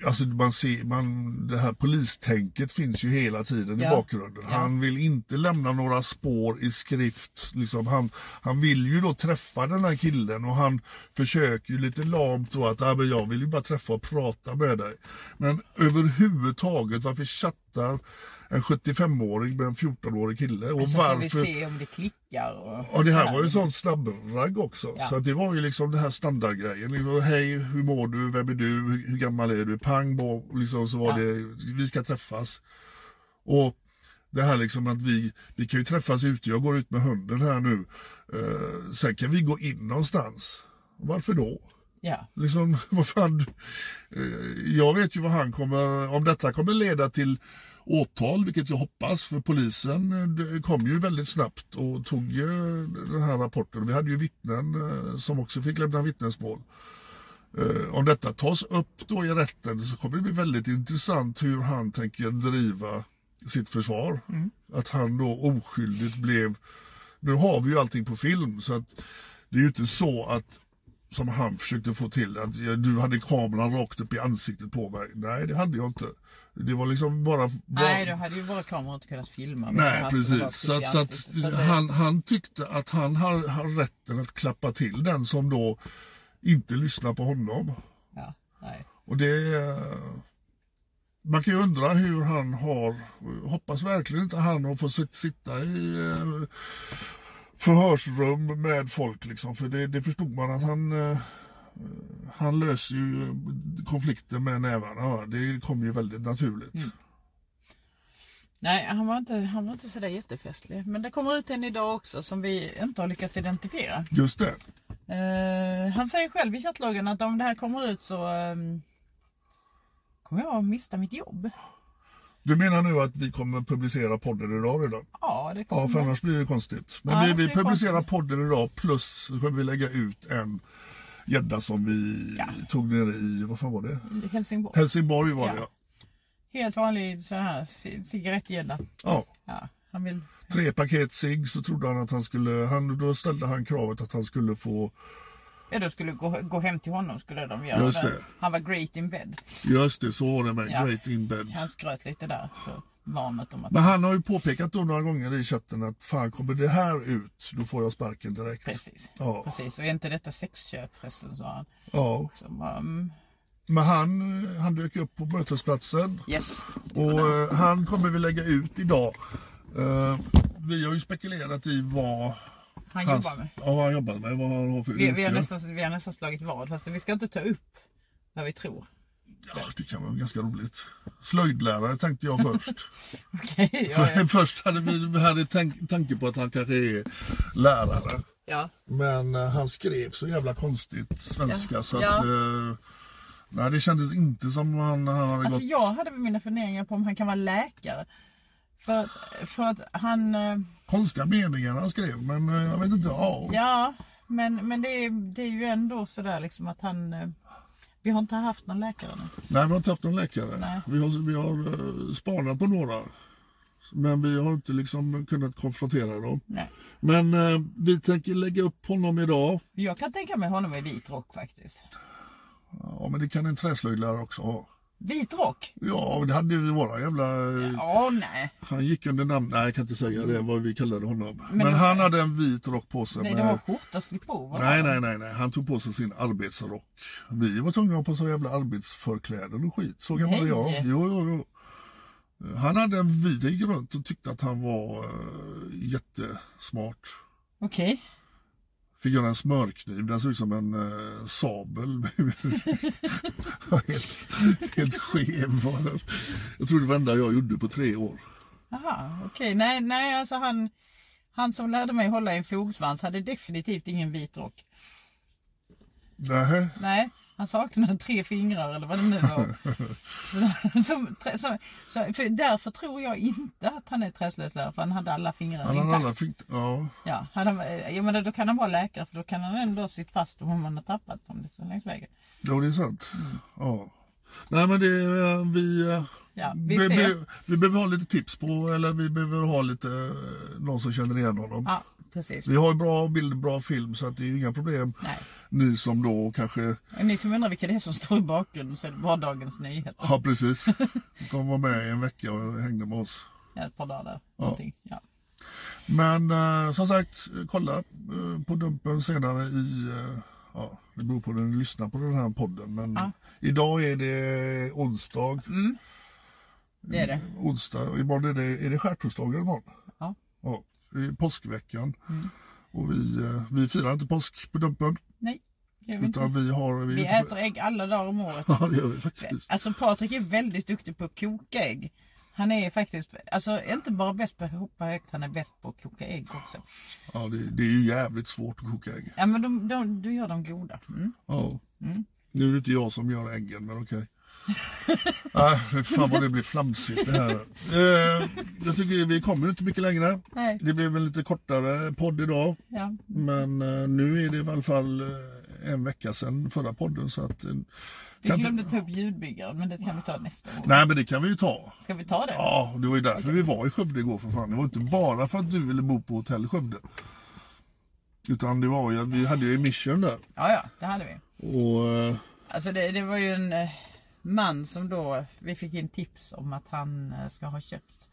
Speaker 1: Alltså man ser, man, det här polistänket finns ju hela tiden
Speaker 2: Ja.
Speaker 1: i bakgrunden. Han vill inte lämna några spår i skrift. Liksom. Han, han vill ju då träffa den här killen och han försöker ju lite lamt då att ah, men jag vill ju bara träffa och prata med dig. Men överhuvudtaget varför chattar en 75-åring med en 14-årig kille? Och
Speaker 2: Och så får vi
Speaker 1: varför
Speaker 2: se om det klickar. Och,
Speaker 1: Ja, det här var ju sån snabbragg också.
Speaker 2: Ja.
Speaker 1: Så att det var ju liksom den här standardgrejen. Det var, Hej, hur mår du? Vem är du? Hur, hur gammal är du? Pang, bo, liksom så var
Speaker 2: Ja.
Speaker 1: det, vi ska träffas. Och det här liksom att vi, vi kan ju träffas ute. Jag går ut med hunden här nu. Eh, sen kan vi gå in någonstans. Varför då?
Speaker 2: Ja,
Speaker 1: Liksom, *laughs* vad fan. eh, Jag vet ju vad han kommer, om detta kommer leda till åtal, vilket jag hoppas, för polisen eh, det kom ju väldigt snabbt och tog ju den här rapporten. Vi hade ju vittnen eh, som också fick lämna vittnesmål. Eh, Om detta tas upp då i rätten så kommer det bli väldigt intressant hur han tänker driva sitt försvar.
Speaker 2: Mm.
Speaker 1: Att han då oskyldigt blev, nu har vi ju allting på film så att det är ju inte så att som han försökte få till. Att jag- du hade kameran rakt upp i ansiktet på mig. Nej, det hade jag inte. Det var liksom bara... Var...
Speaker 2: nej då hade ju våra kameror inte kunnat filma. men de
Speaker 1: Nej,
Speaker 2: hade
Speaker 1: precis.
Speaker 2: varit
Speaker 1: Så, att,
Speaker 2: i
Speaker 1: så att
Speaker 2: ansiktet. Så att det-
Speaker 1: han, han tyckte att han har, har rätten att klappa till den som då inte lyssnar på honom.
Speaker 2: Ja, nej.
Speaker 1: Och det... eh, Man kan ju undra hur han har... Hoppas verkligen inte han har fått sit- sitta i eh, förhörsrum med folk liksom. För det, det förstod man att han... eh, Han löser ju eh, konflikter med nävarna. va. Det kom ju väldigt naturligt.
Speaker 2: nej, han var inte, han var inte sådär jättefestlig. Men det kommer ut en idag också som vi inte har lyckats identifiera.
Speaker 1: Just det.
Speaker 2: Eh, han säger själv i chattloggen att om det här kommer ut så ehm, kommer jag att mista mitt jobb.
Speaker 1: Du menar nu att vi kommer publicera podden idag redan?
Speaker 2: Ja, det kommer.
Speaker 1: Ja, för annars blir det konstigt. Men
Speaker 2: Mm. Ja, annars
Speaker 1: vi,
Speaker 2: blir
Speaker 1: vi
Speaker 2: det
Speaker 1: publicerar podden idag plus så kommer vi lägga ut en gädda som vi tog nere i, vad fan var det?
Speaker 2: Helsingborg.
Speaker 1: Helsingborg var det
Speaker 2: Ja.
Speaker 1: ja.
Speaker 2: Helt vanlig sån här ci- cigarettgädda.
Speaker 1: ja.
Speaker 2: Ja, han vill...
Speaker 1: Tre paket cigg så trodde han att han skulle, han, då ställde han kravet att han skulle få,
Speaker 2: Ja, de skulle gå, gå hem till honom skulle de göra.
Speaker 1: Just
Speaker 2: Men
Speaker 1: det.
Speaker 2: Han var great in bed.
Speaker 1: just det så var det med,
Speaker 2: Ja.
Speaker 1: great in bed.
Speaker 2: Han skröt lite där för barnet om att...
Speaker 1: Men han har ju påpekat då några gånger i chatten att fan kommer det här ut då får jag sparken direkt.
Speaker 2: Precis.
Speaker 1: Ja.
Speaker 2: Precis. Och är inte detta sexköp förresten, sa han.
Speaker 1: Ja,
Speaker 2: Så, bara, mm,
Speaker 1: men han, han dök upp på mötesplatsen
Speaker 2: yes.
Speaker 1: Och eh, han kommer vi lägga ut idag. Eh, vi har ju spekulerat i vad
Speaker 2: Han
Speaker 1: hans-
Speaker 2: jobbar med.
Speaker 1: Ja, vad han jobbar med. Vad han har för
Speaker 2: Vi, vi, har
Speaker 1: yrke.
Speaker 2: nästan, vi har nästan slagit vad. Fast vi ska inte ta upp vad vi tror. *laughs*
Speaker 1: ja, det kan vara ganska roligt. Slöjdlärare tänkte jag först.
Speaker 2: Okej, *laughs* ja, ja.
Speaker 1: För, först hade vi, vi hade tank, tanke på att han kanske är lärare.
Speaker 2: ja.
Speaker 1: Men eh, han skrev så jävla konstigt svenska
Speaker 2: Ja.
Speaker 1: så att...
Speaker 2: Ja.
Speaker 1: eh, nej, det kändes inte som han har
Speaker 2: Alltså
Speaker 1: gått...
Speaker 2: jag hade mina funderingar på om han kan vara läkare. För, för att han... eh,
Speaker 1: Konstiga meningar han skrev, men eh, jag vet inte. Ja,
Speaker 2: Ja, men, men det, är, det är ju ändå sådär liksom att han... eh, Vi har inte haft någon läkare nu.
Speaker 1: Nej, vi har inte haft någon läkare.
Speaker 2: Nej.
Speaker 1: Vi har, vi har eh, spanat på några. Men vi har inte liksom kunnat konfrontera dem.
Speaker 2: Nej.
Speaker 1: Men eh, vi tänker lägga upp honom idag.
Speaker 2: Jag kan tänka mig honom i vit rock faktiskt.
Speaker 1: Ja, men det kan en träslöjdlärare också ha.
Speaker 2: Vit rock?
Speaker 1: Ja, det hade ju våra jävla... eh,
Speaker 2: Ja, nej.
Speaker 1: Han gick under namn... Nej, jag kan inte säga det, vad vi kallade honom. Men,
Speaker 2: det-
Speaker 1: han hade en vit rock på sig.
Speaker 2: Nej, det
Speaker 1: med-
Speaker 2: var skjorta och slipover.
Speaker 1: nej, nej, nej, nej. Han tog på sig sin arbetsrock. Vi var tvungna att ha på sig jävla arbetsförkläden och skit. Så gammal är jag.
Speaker 2: Nej.
Speaker 1: Jo, jo, jo. Han hade en vid runt och tyckte att han var eh, jättesmart.
Speaker 2: Okej.
Speaker 1: Fick göra en smörkniv, den såg ut som en eh, sabel. *laughs* helt, helt skev var den. Jag tror det var det enda jag gjorde på tre år.
Speaker 2: Aha, okej. Nej, nej, alltså han... Han som lärde mig hålla i en fogsvans hade definitivt ingen vit rock.
Speaker 1: Nähä.
Speaker 2: Nej, Han saknade tre fingrar eller vad det nu *laughs* var. som, trä- som, så, för därför tror jag inte att han är träslöjdslärare för han hade alla fingrar
Speaker 1: Han har
Speaker 2: intakta.
Speaker 1: alla fint. Ja.
Speaker 2: Ja, hade han, eh, jag menar, då kan han vara läkare för då kan han ändå sitta fast om man har tappat dem. liksom Det är så länge läge.
Speaker 1: ja, det är sant.
Speaker 2: Mm.
Speaker 1: Ja. Nej men det, eh, vi, eh,
Speaker 2: Ja, vi
Speaker 1: be-
Speaker 2: ser.
Speaker 1: be- vi behöver ha lite tips på, eller vi behöver ha lite, eh, någon som känner igen honom.
Speaker 2: Ja, precis.
Speaker 1: Vi har ju bra bild, bra film så att det är ju inga problem.
Speaker 2: Nej.
Speaker 1: Ni som då kanske,
Speaker 2: Och Ni som undrar vilka det är som står i bakgrunden så är det vardagens nyheter.
Speaker 1: ja
Speaker 2: *laughs*
Speaker 1: precis, de var med i en vecka och hängde med oss.
Speaker 2: Ja, ett par dagar där. någonting. Ja.
Speaker 1: Men eh, som sagt, eh, kolla eh, på Dumpen senare i... Eh, ja, det beror på när ni lyssnar på den här podden. Men idag är det onsdag.
Speaker 2: Det är det.
Speaker 1: onsdag och imorgon är det, är det skärtorsdagen imorgon.
Speaker 2: Ja.
Speaker 1: Ja, det är påskveckan. Och vi, eh, vi firar inte påsk på Dumpen.
Speaker 2: Nej, det gör vi inte.
Speaker 1: Utan vi har...
Speaker 2: Vi äter ägg alla dagar om året.
Speaker 1: *laughs* Ja, det gör vi faktiskt.
Speaker 2: Alltså Patrik är väldigt duktig på att koka ägg. Han är faktiskt, alltså inte bara bäst på att hoppa högt, han är bäst på att koka ägg också.
Speaker 1: Ja, det, det är ju jävligt svårt att koka ägg.
Speaker 2: Ja men de, de, du gör dem goda. Mm.
Speaker 1: Ja. Nu är det inte jag som gör äggen, men okej. *laughs* Nej, fy fan vad det blir flamsigt det här. Eh, jag tycker vi kommer inte mycket längre.
Speaker 2: Nej.
Speaker 1: Det blev en lite kortare podd idag.
Speaker 2: Ja.
Speaker 1: Men eh, nu är det i alla fall eh, en vecka sedan förra podden. Så att, eh,
Speaker 2: Vi
Speaker 1: kan inte-
Speaker 2: glömde ta upp ljudbyggaren men det kan vi ta nästa gång.
Speaker 1: Nej, men det kan vi ju ta.
Speaker 2: Ska vi ta det?
Speaker 1: Ja, det var ju därför vi var i Skövde igår för fan. Det var inte bara för att du ville bo på hotell i Skövde. Utan det var ju att vi hade ju mission där.
Speaker 2: Ja, ja, det hade vi.
Speaker 1: Och eh,
Speaker 2: Alltså det, det var ju en eh, man som då, vi fick in tips om att han eh, ska ha köpt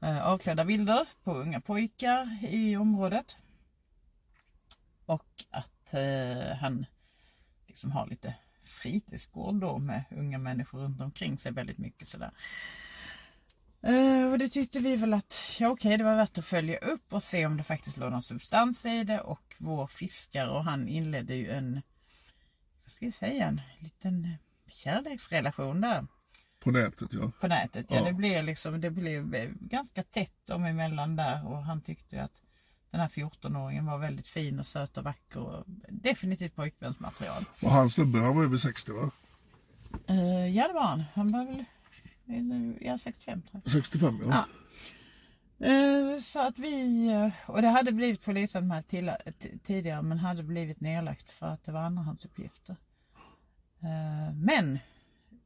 Speaker 2: eh, avklädda bilder på unga pojkar i området. Och att eh, han liksom har lite fritidsgård då med unga människor runt omkring sig väldigt mycket sådär. Eh, och det tyckte vi väl att, ja okej det var värt att följa upp och se om det faktiskt låg någon substans i det och vår fiskare och han inledde ju en vad ska jag säga, en liten eh, kärleksrelation där
Speaker 1: på nätet ja.
Speaker 2: på nätet. Ja,
Speaker 1: Ja.
Speaker 2: Det blev liksom, det blev eh, ganska tätt dem emellan där och han tyckte ju att den här 14-åringen var väldigt fin och söt och vacker och definitivt pojkvänsmaterial.
Speaker 1: Och han snubben han var över 60 va?
Speaker 2: Uh, ja det var han, han var väl, eh, ja 65 tror jag.
Speaker 1: 65 ja.
Speaker 2: Ja. Eh, Så att vi, eh, och det hade blivit polisanmält till, t- tidigare men hade blivit nedlagt för att det var andrahandsuppgifter. Eh, Men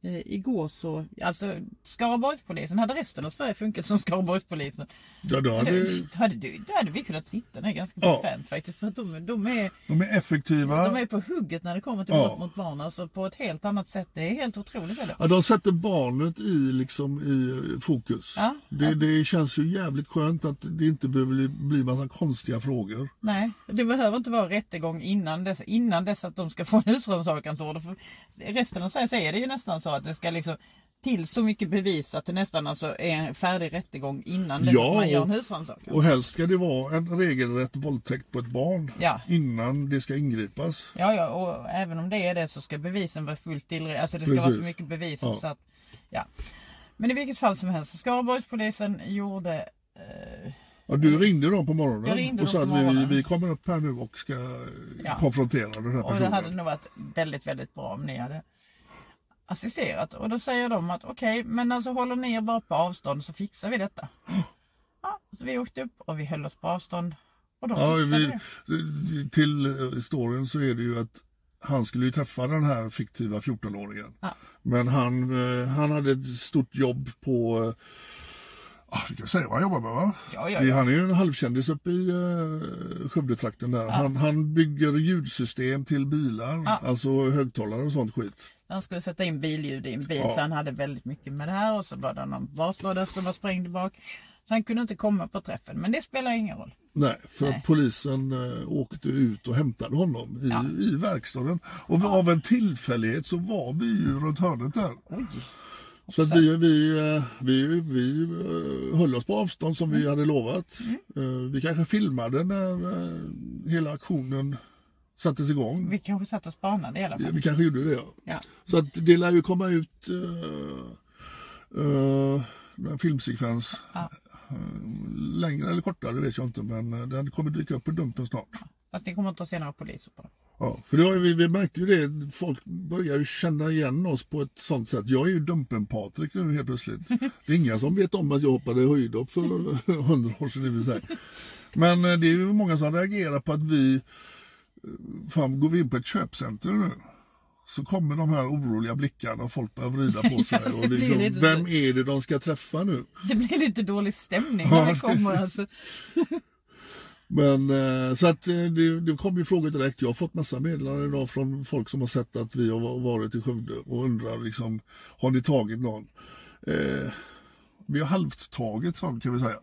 Speaker 2: eh, igår så, alltså Skaraborgspolisen hade resten av Sverige funkat som Skaraborgspolisen.
Speaker 1: Ja, då hade,
Speaker 2: Det... Hade, du- då hade vi kunnat sitta ner ganska
Speaker 1: Ja.
Speaker 2: bekvämt faktiskt för att de, de, är,
Speaker 1: de är effektiva.
Speaker 2: de är på hugget när det kommer till
Speaker 1: Ja.
Speaker 2: brott mot barn. Alltså på ett helt annat sätt. Det är helt otroligt. Eller?
Speaker 1: Ja, de sätter barnet i, liksom, i eh, fokus.
Speaker 2: Ja.
Speaker 1: Det, det känns ju jävligt skönt att det inte behöver bli- bli massa konstiga frågor.
Speaker 2: Nej, det behöver inte vara rättegång innan dess, innan dess att de ska få en husrannsakansorder. För resten av Sverige säger det ju nästan så att det ska liksom till så mycket bevis att det nästan alltså är en färdig rättegång innan det-
Speaker 1: Ja,
Speaker 2: man gör
Speaker 1: och-
Speaker 2: en husrannsakan.
Speaker 1: Och helst ska det vara en regelrätt våldtäkt på ett barn
Speaker 2: Ja.
Speaker 1: innan det ska ingripas.
Speaker 2: Ja, ja, och även om det är det så ska bevisen vara fullt tillräckliga. Alltså det ska vara
Speaker 1: Precis.
Speaker 2: så mycket bevis
Speaker 1: Ja.
Speaker 2: så att, ja. Men i vilket fall som helst, Skaraborgspolisen gjorde eh,
Speaker 1: Ja, du ringde dem på morgonen
Speaker 2: Jag ringde
Speaker 1: och sa
Speaker 2: dem
Speaker 1: att
Speaker 2: på
Speaker 1: vi,
Speaker 2: morgonen.
Speaker 1: vi kommer upp här nu och ska eh,
Speaker 2: Ja.
Speaker 1: konfrontera den
Speaker 2: Och
Speaker 1: här
Speaker 2: det
Speaker 1: personen.
Speaker 2: hade nog varit väldigt, väldigt bra om ni hade assisterat. Och då säger de att okej, men alltså håller ni er bara på avstånd så fixar vi detta. Ja, så vi åkte upp och vi höll oss på avstånd. Och de
Speaker 1: Ja,
Speaker 2: fixade
Speaker 1: vi,
Speaker 2: det.
Speaker 1: till eh, historien så är det ju att han skulle ju träffa den här fiktiva 14-åringen.
Speaker 2: Ja.
Speaker 1: Men han, eh, han hade ett stort jobb på... eh, ah, Vi kan säga vad han jobbar med va?
Speaker 2: Ja, ja,
Speaker 1: Det-
Speaker 2: ja.
Speaker 1: Han är ju en halvkändis uppe i uh, Skövdetrakten där. Han, han bygger ljudsystem till bilar, alltså högtalare och sånt skit.
Speaker 2: Han skulle sätta in billjud i en bil
Speaker 1: Ja.
Speaker 2: så han hade väldigt mycket med det här. Och så var det någon baslåda som var sprängd bak. Så han kunde inte komma på träffen. Men det spelar ingen roll.
Speaker 1: Nej, för att polisen eh, åkte ut och hämtade honom i, i verkstaden. Och av en tillfällighet så var vi ju runt hörnet där. Så att vi, vi, eh, vi, vi eh, höll oss på avstånd som vi hade lovat. Eh, Vi kanske filmade när eh, hela aktionen sattes igång.
Speaker 2: Vi kanske satt och spanade i alla fall.
Speaker 1: Vi kanske gjorde det.
Speaker 2: Ja.
Speaker 1: Så att det lär ju komma ut eh, eh, en filmsekvens. Eh, längre eller kortare vet jag inte men eh, den kommer dyka upp på Dumpen snart.
Speaker 2: Fast ni kommer inte att se några poliser på dem.
Speaker 1: Ja, för det har ju, vi, vi märkte ju det, folk börjar ju känna igen oss på ett sånt sätt. Jag är ju Dumpen-Patrik nu helt plötsligt. Det är inga som vet om att jag hoppade höjdhopp för *laughs* hundra år sedan i och för sig. Men eh, det är ju många som reagerar på att vi, eh, fan går vi in på ett köpcentrum nu? Så kommer de här oroliga blickarna och folk börjar vrida
Speaker 2: *laughs*
Speaker 1: på sig.
Speaker 2: Ja, det
Speaker 1: Och
Speaker 2: blir
Speaker 1: liksom,
Speaker 2: lite så.
Speaker 1: vem är det de ska träffa nu?
Speaker 2: Det blir lite dålig stämning när vi
Speaker 1: Ja.
Speaker 2: kommer alltså.
Speaker 1: Men eh, så att eh, det, det kom ju frågor direkt. Jag har fått massa meddelanden idag från folk som har sett att vi har va- varit i Skövde och undrar liksom, har ni tagit någon? Eh, vi har halvt tagit sån kan vi säga.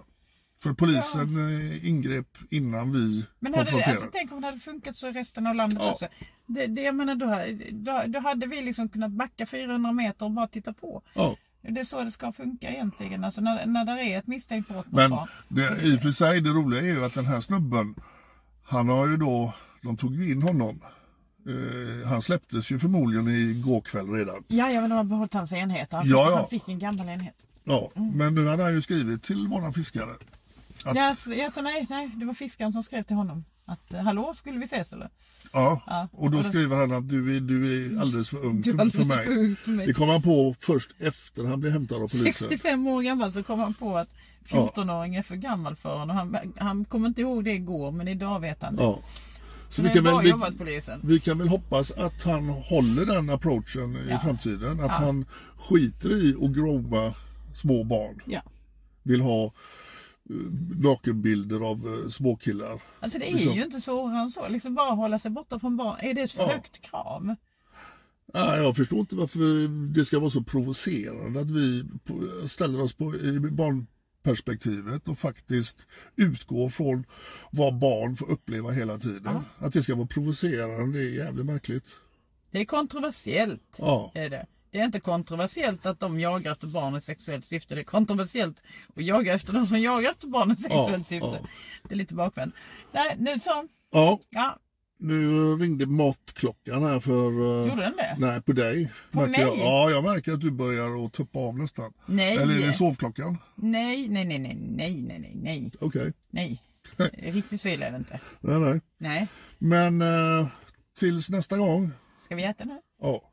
Speaker 1: För polisen eh, ingrep innan vi
Speaker 2: Men hade det,
Speaker 1: konfronterade.
Speaker 2: alltså, tänk om det hade funkat så i resten av landet
Speaker 1: Ja.
Speaker 2: också. Det, det, jag menar, då, då, då hade vi liksom kunnat backa 400 meter och bara titta på.
Speaker 1: ja.
Speaker 2: Det är så det ska funka egentligen. Alltså när, när det är ett misstänkt brott mot
Speaker 1: Men
Speaker 2: barn.
Speaker 1: det, i och för sig, det roliga är ju att den här snubben, han har ju då, de tog ju in honom. Eh, han släpptes ju förmodligen igår kväll redan.
Speaker 2: Ja, ja, men de har behållit hans enhet. Han,
Speaker 1: Ja,
Speaker 2: fick-
Speaker 1: ja.
Speaker 2: han fick en gammal enhet.
Speaker 1: Ja,
Speaker 2: Mm.
Speaker 1: men nu hade han ju skrivit till våran fiskare. Att,
Speaker 2: Ja, så, ja, så nej, nej, det var fiskaren som skrev till honom. Att eh, hallå, skulle vi ses eller?
Speaker 1: Ja,
Speaker 2: Ja,
Speaker 1: och då
Speaker 2: och då-
Speaker 1: skriver han att du är, du är alldeles för ung
Speaker 2: Du är
Speaker 1: för,
Speaker 2: alldeles
Speaker 1: för, mig.
Speaker 2: för ung för mig.
Speaker 1: Det kom han på först efter han blev hämtad av polisen.
Speaker 2: 65 år gammal så kom han på att 14-åring är för gammal för honom. Han, han kommer inte ihåg det igår, men idag vet han det.
Speaker 1: Ja. Så
Speaker 2: Men det
Speaker 1: vi
Speaker 2: är
Speaker 1: kan,
Speaker 2: bra
Speaker 1: väl, vi,
Speaker 2: jobbat polisen.
Speaker 1: vi kan väl hoppas att han håller den approachen i
Speaker 2: Ja.
Speaker 1: framtiden. Att han skiter i att groma små barn.
Speaker 2: Ja.
Speaker 1: Vill ha eh, nakenbilder av eh, småkillar.
Speaker 2: Alltså det är
Speaker 1: Liksom.
Speaker 2: ju inte svårare än så. Liksom bara hålla sig borta från barn. Är det ett för
Speaker 1: Ja.
Speaker 2: högt krav?
Speaker 1: Nej, jag förstår inte varför det ska vara så provocerande att vi på- ställer oss på i barnperspektivet och faktiskt utgår från vad barn får uppleva hela tiden. Att det ska vara provocerande det är jävligt märkligt.
Speaker 2: Det är kontroversiellt.
Speaker 1: Ja,
Speaker 2: Är det. det är inte kontroversiellt att de jagar efter barn i sexuellt syfte. Det är kontroversiellt att jaga efter de som jagar efter barn i sexuellt syfte.
Speaker 1: ja.
Speaker 2: Det är lite bakvänt. Nej, nu så.
Speaker 1: ja
Speaker 2: Ja,
Speaker 1: nu ringde matklockan här för... eh,
Speaker 2: gjorde den det?
Speaker 1: Nej, på dig.
Speaker 2: På
Speaker 1: Märker Jag,
Speaker 2: mig?
Speaker 1: ja, jag märker att du börjar att tuppa av nästan.
Speaker 2: Nej.
Speaker 1: Eller är det sovklockan?
Speaker 2: Nej, nej, nej, nej, nej, nej, nej, nej,
Speaker 1: Okej. *laughs*
Speaker 2: nej. Riktigt så illa är det inte.
Speaker 1: Nej, nej.
Speaker 2: Nej.
Speaker 1: Men eh, tills nästa gång.
Speaker 2: Ska vi äta nu?
Speaker 1: Ja.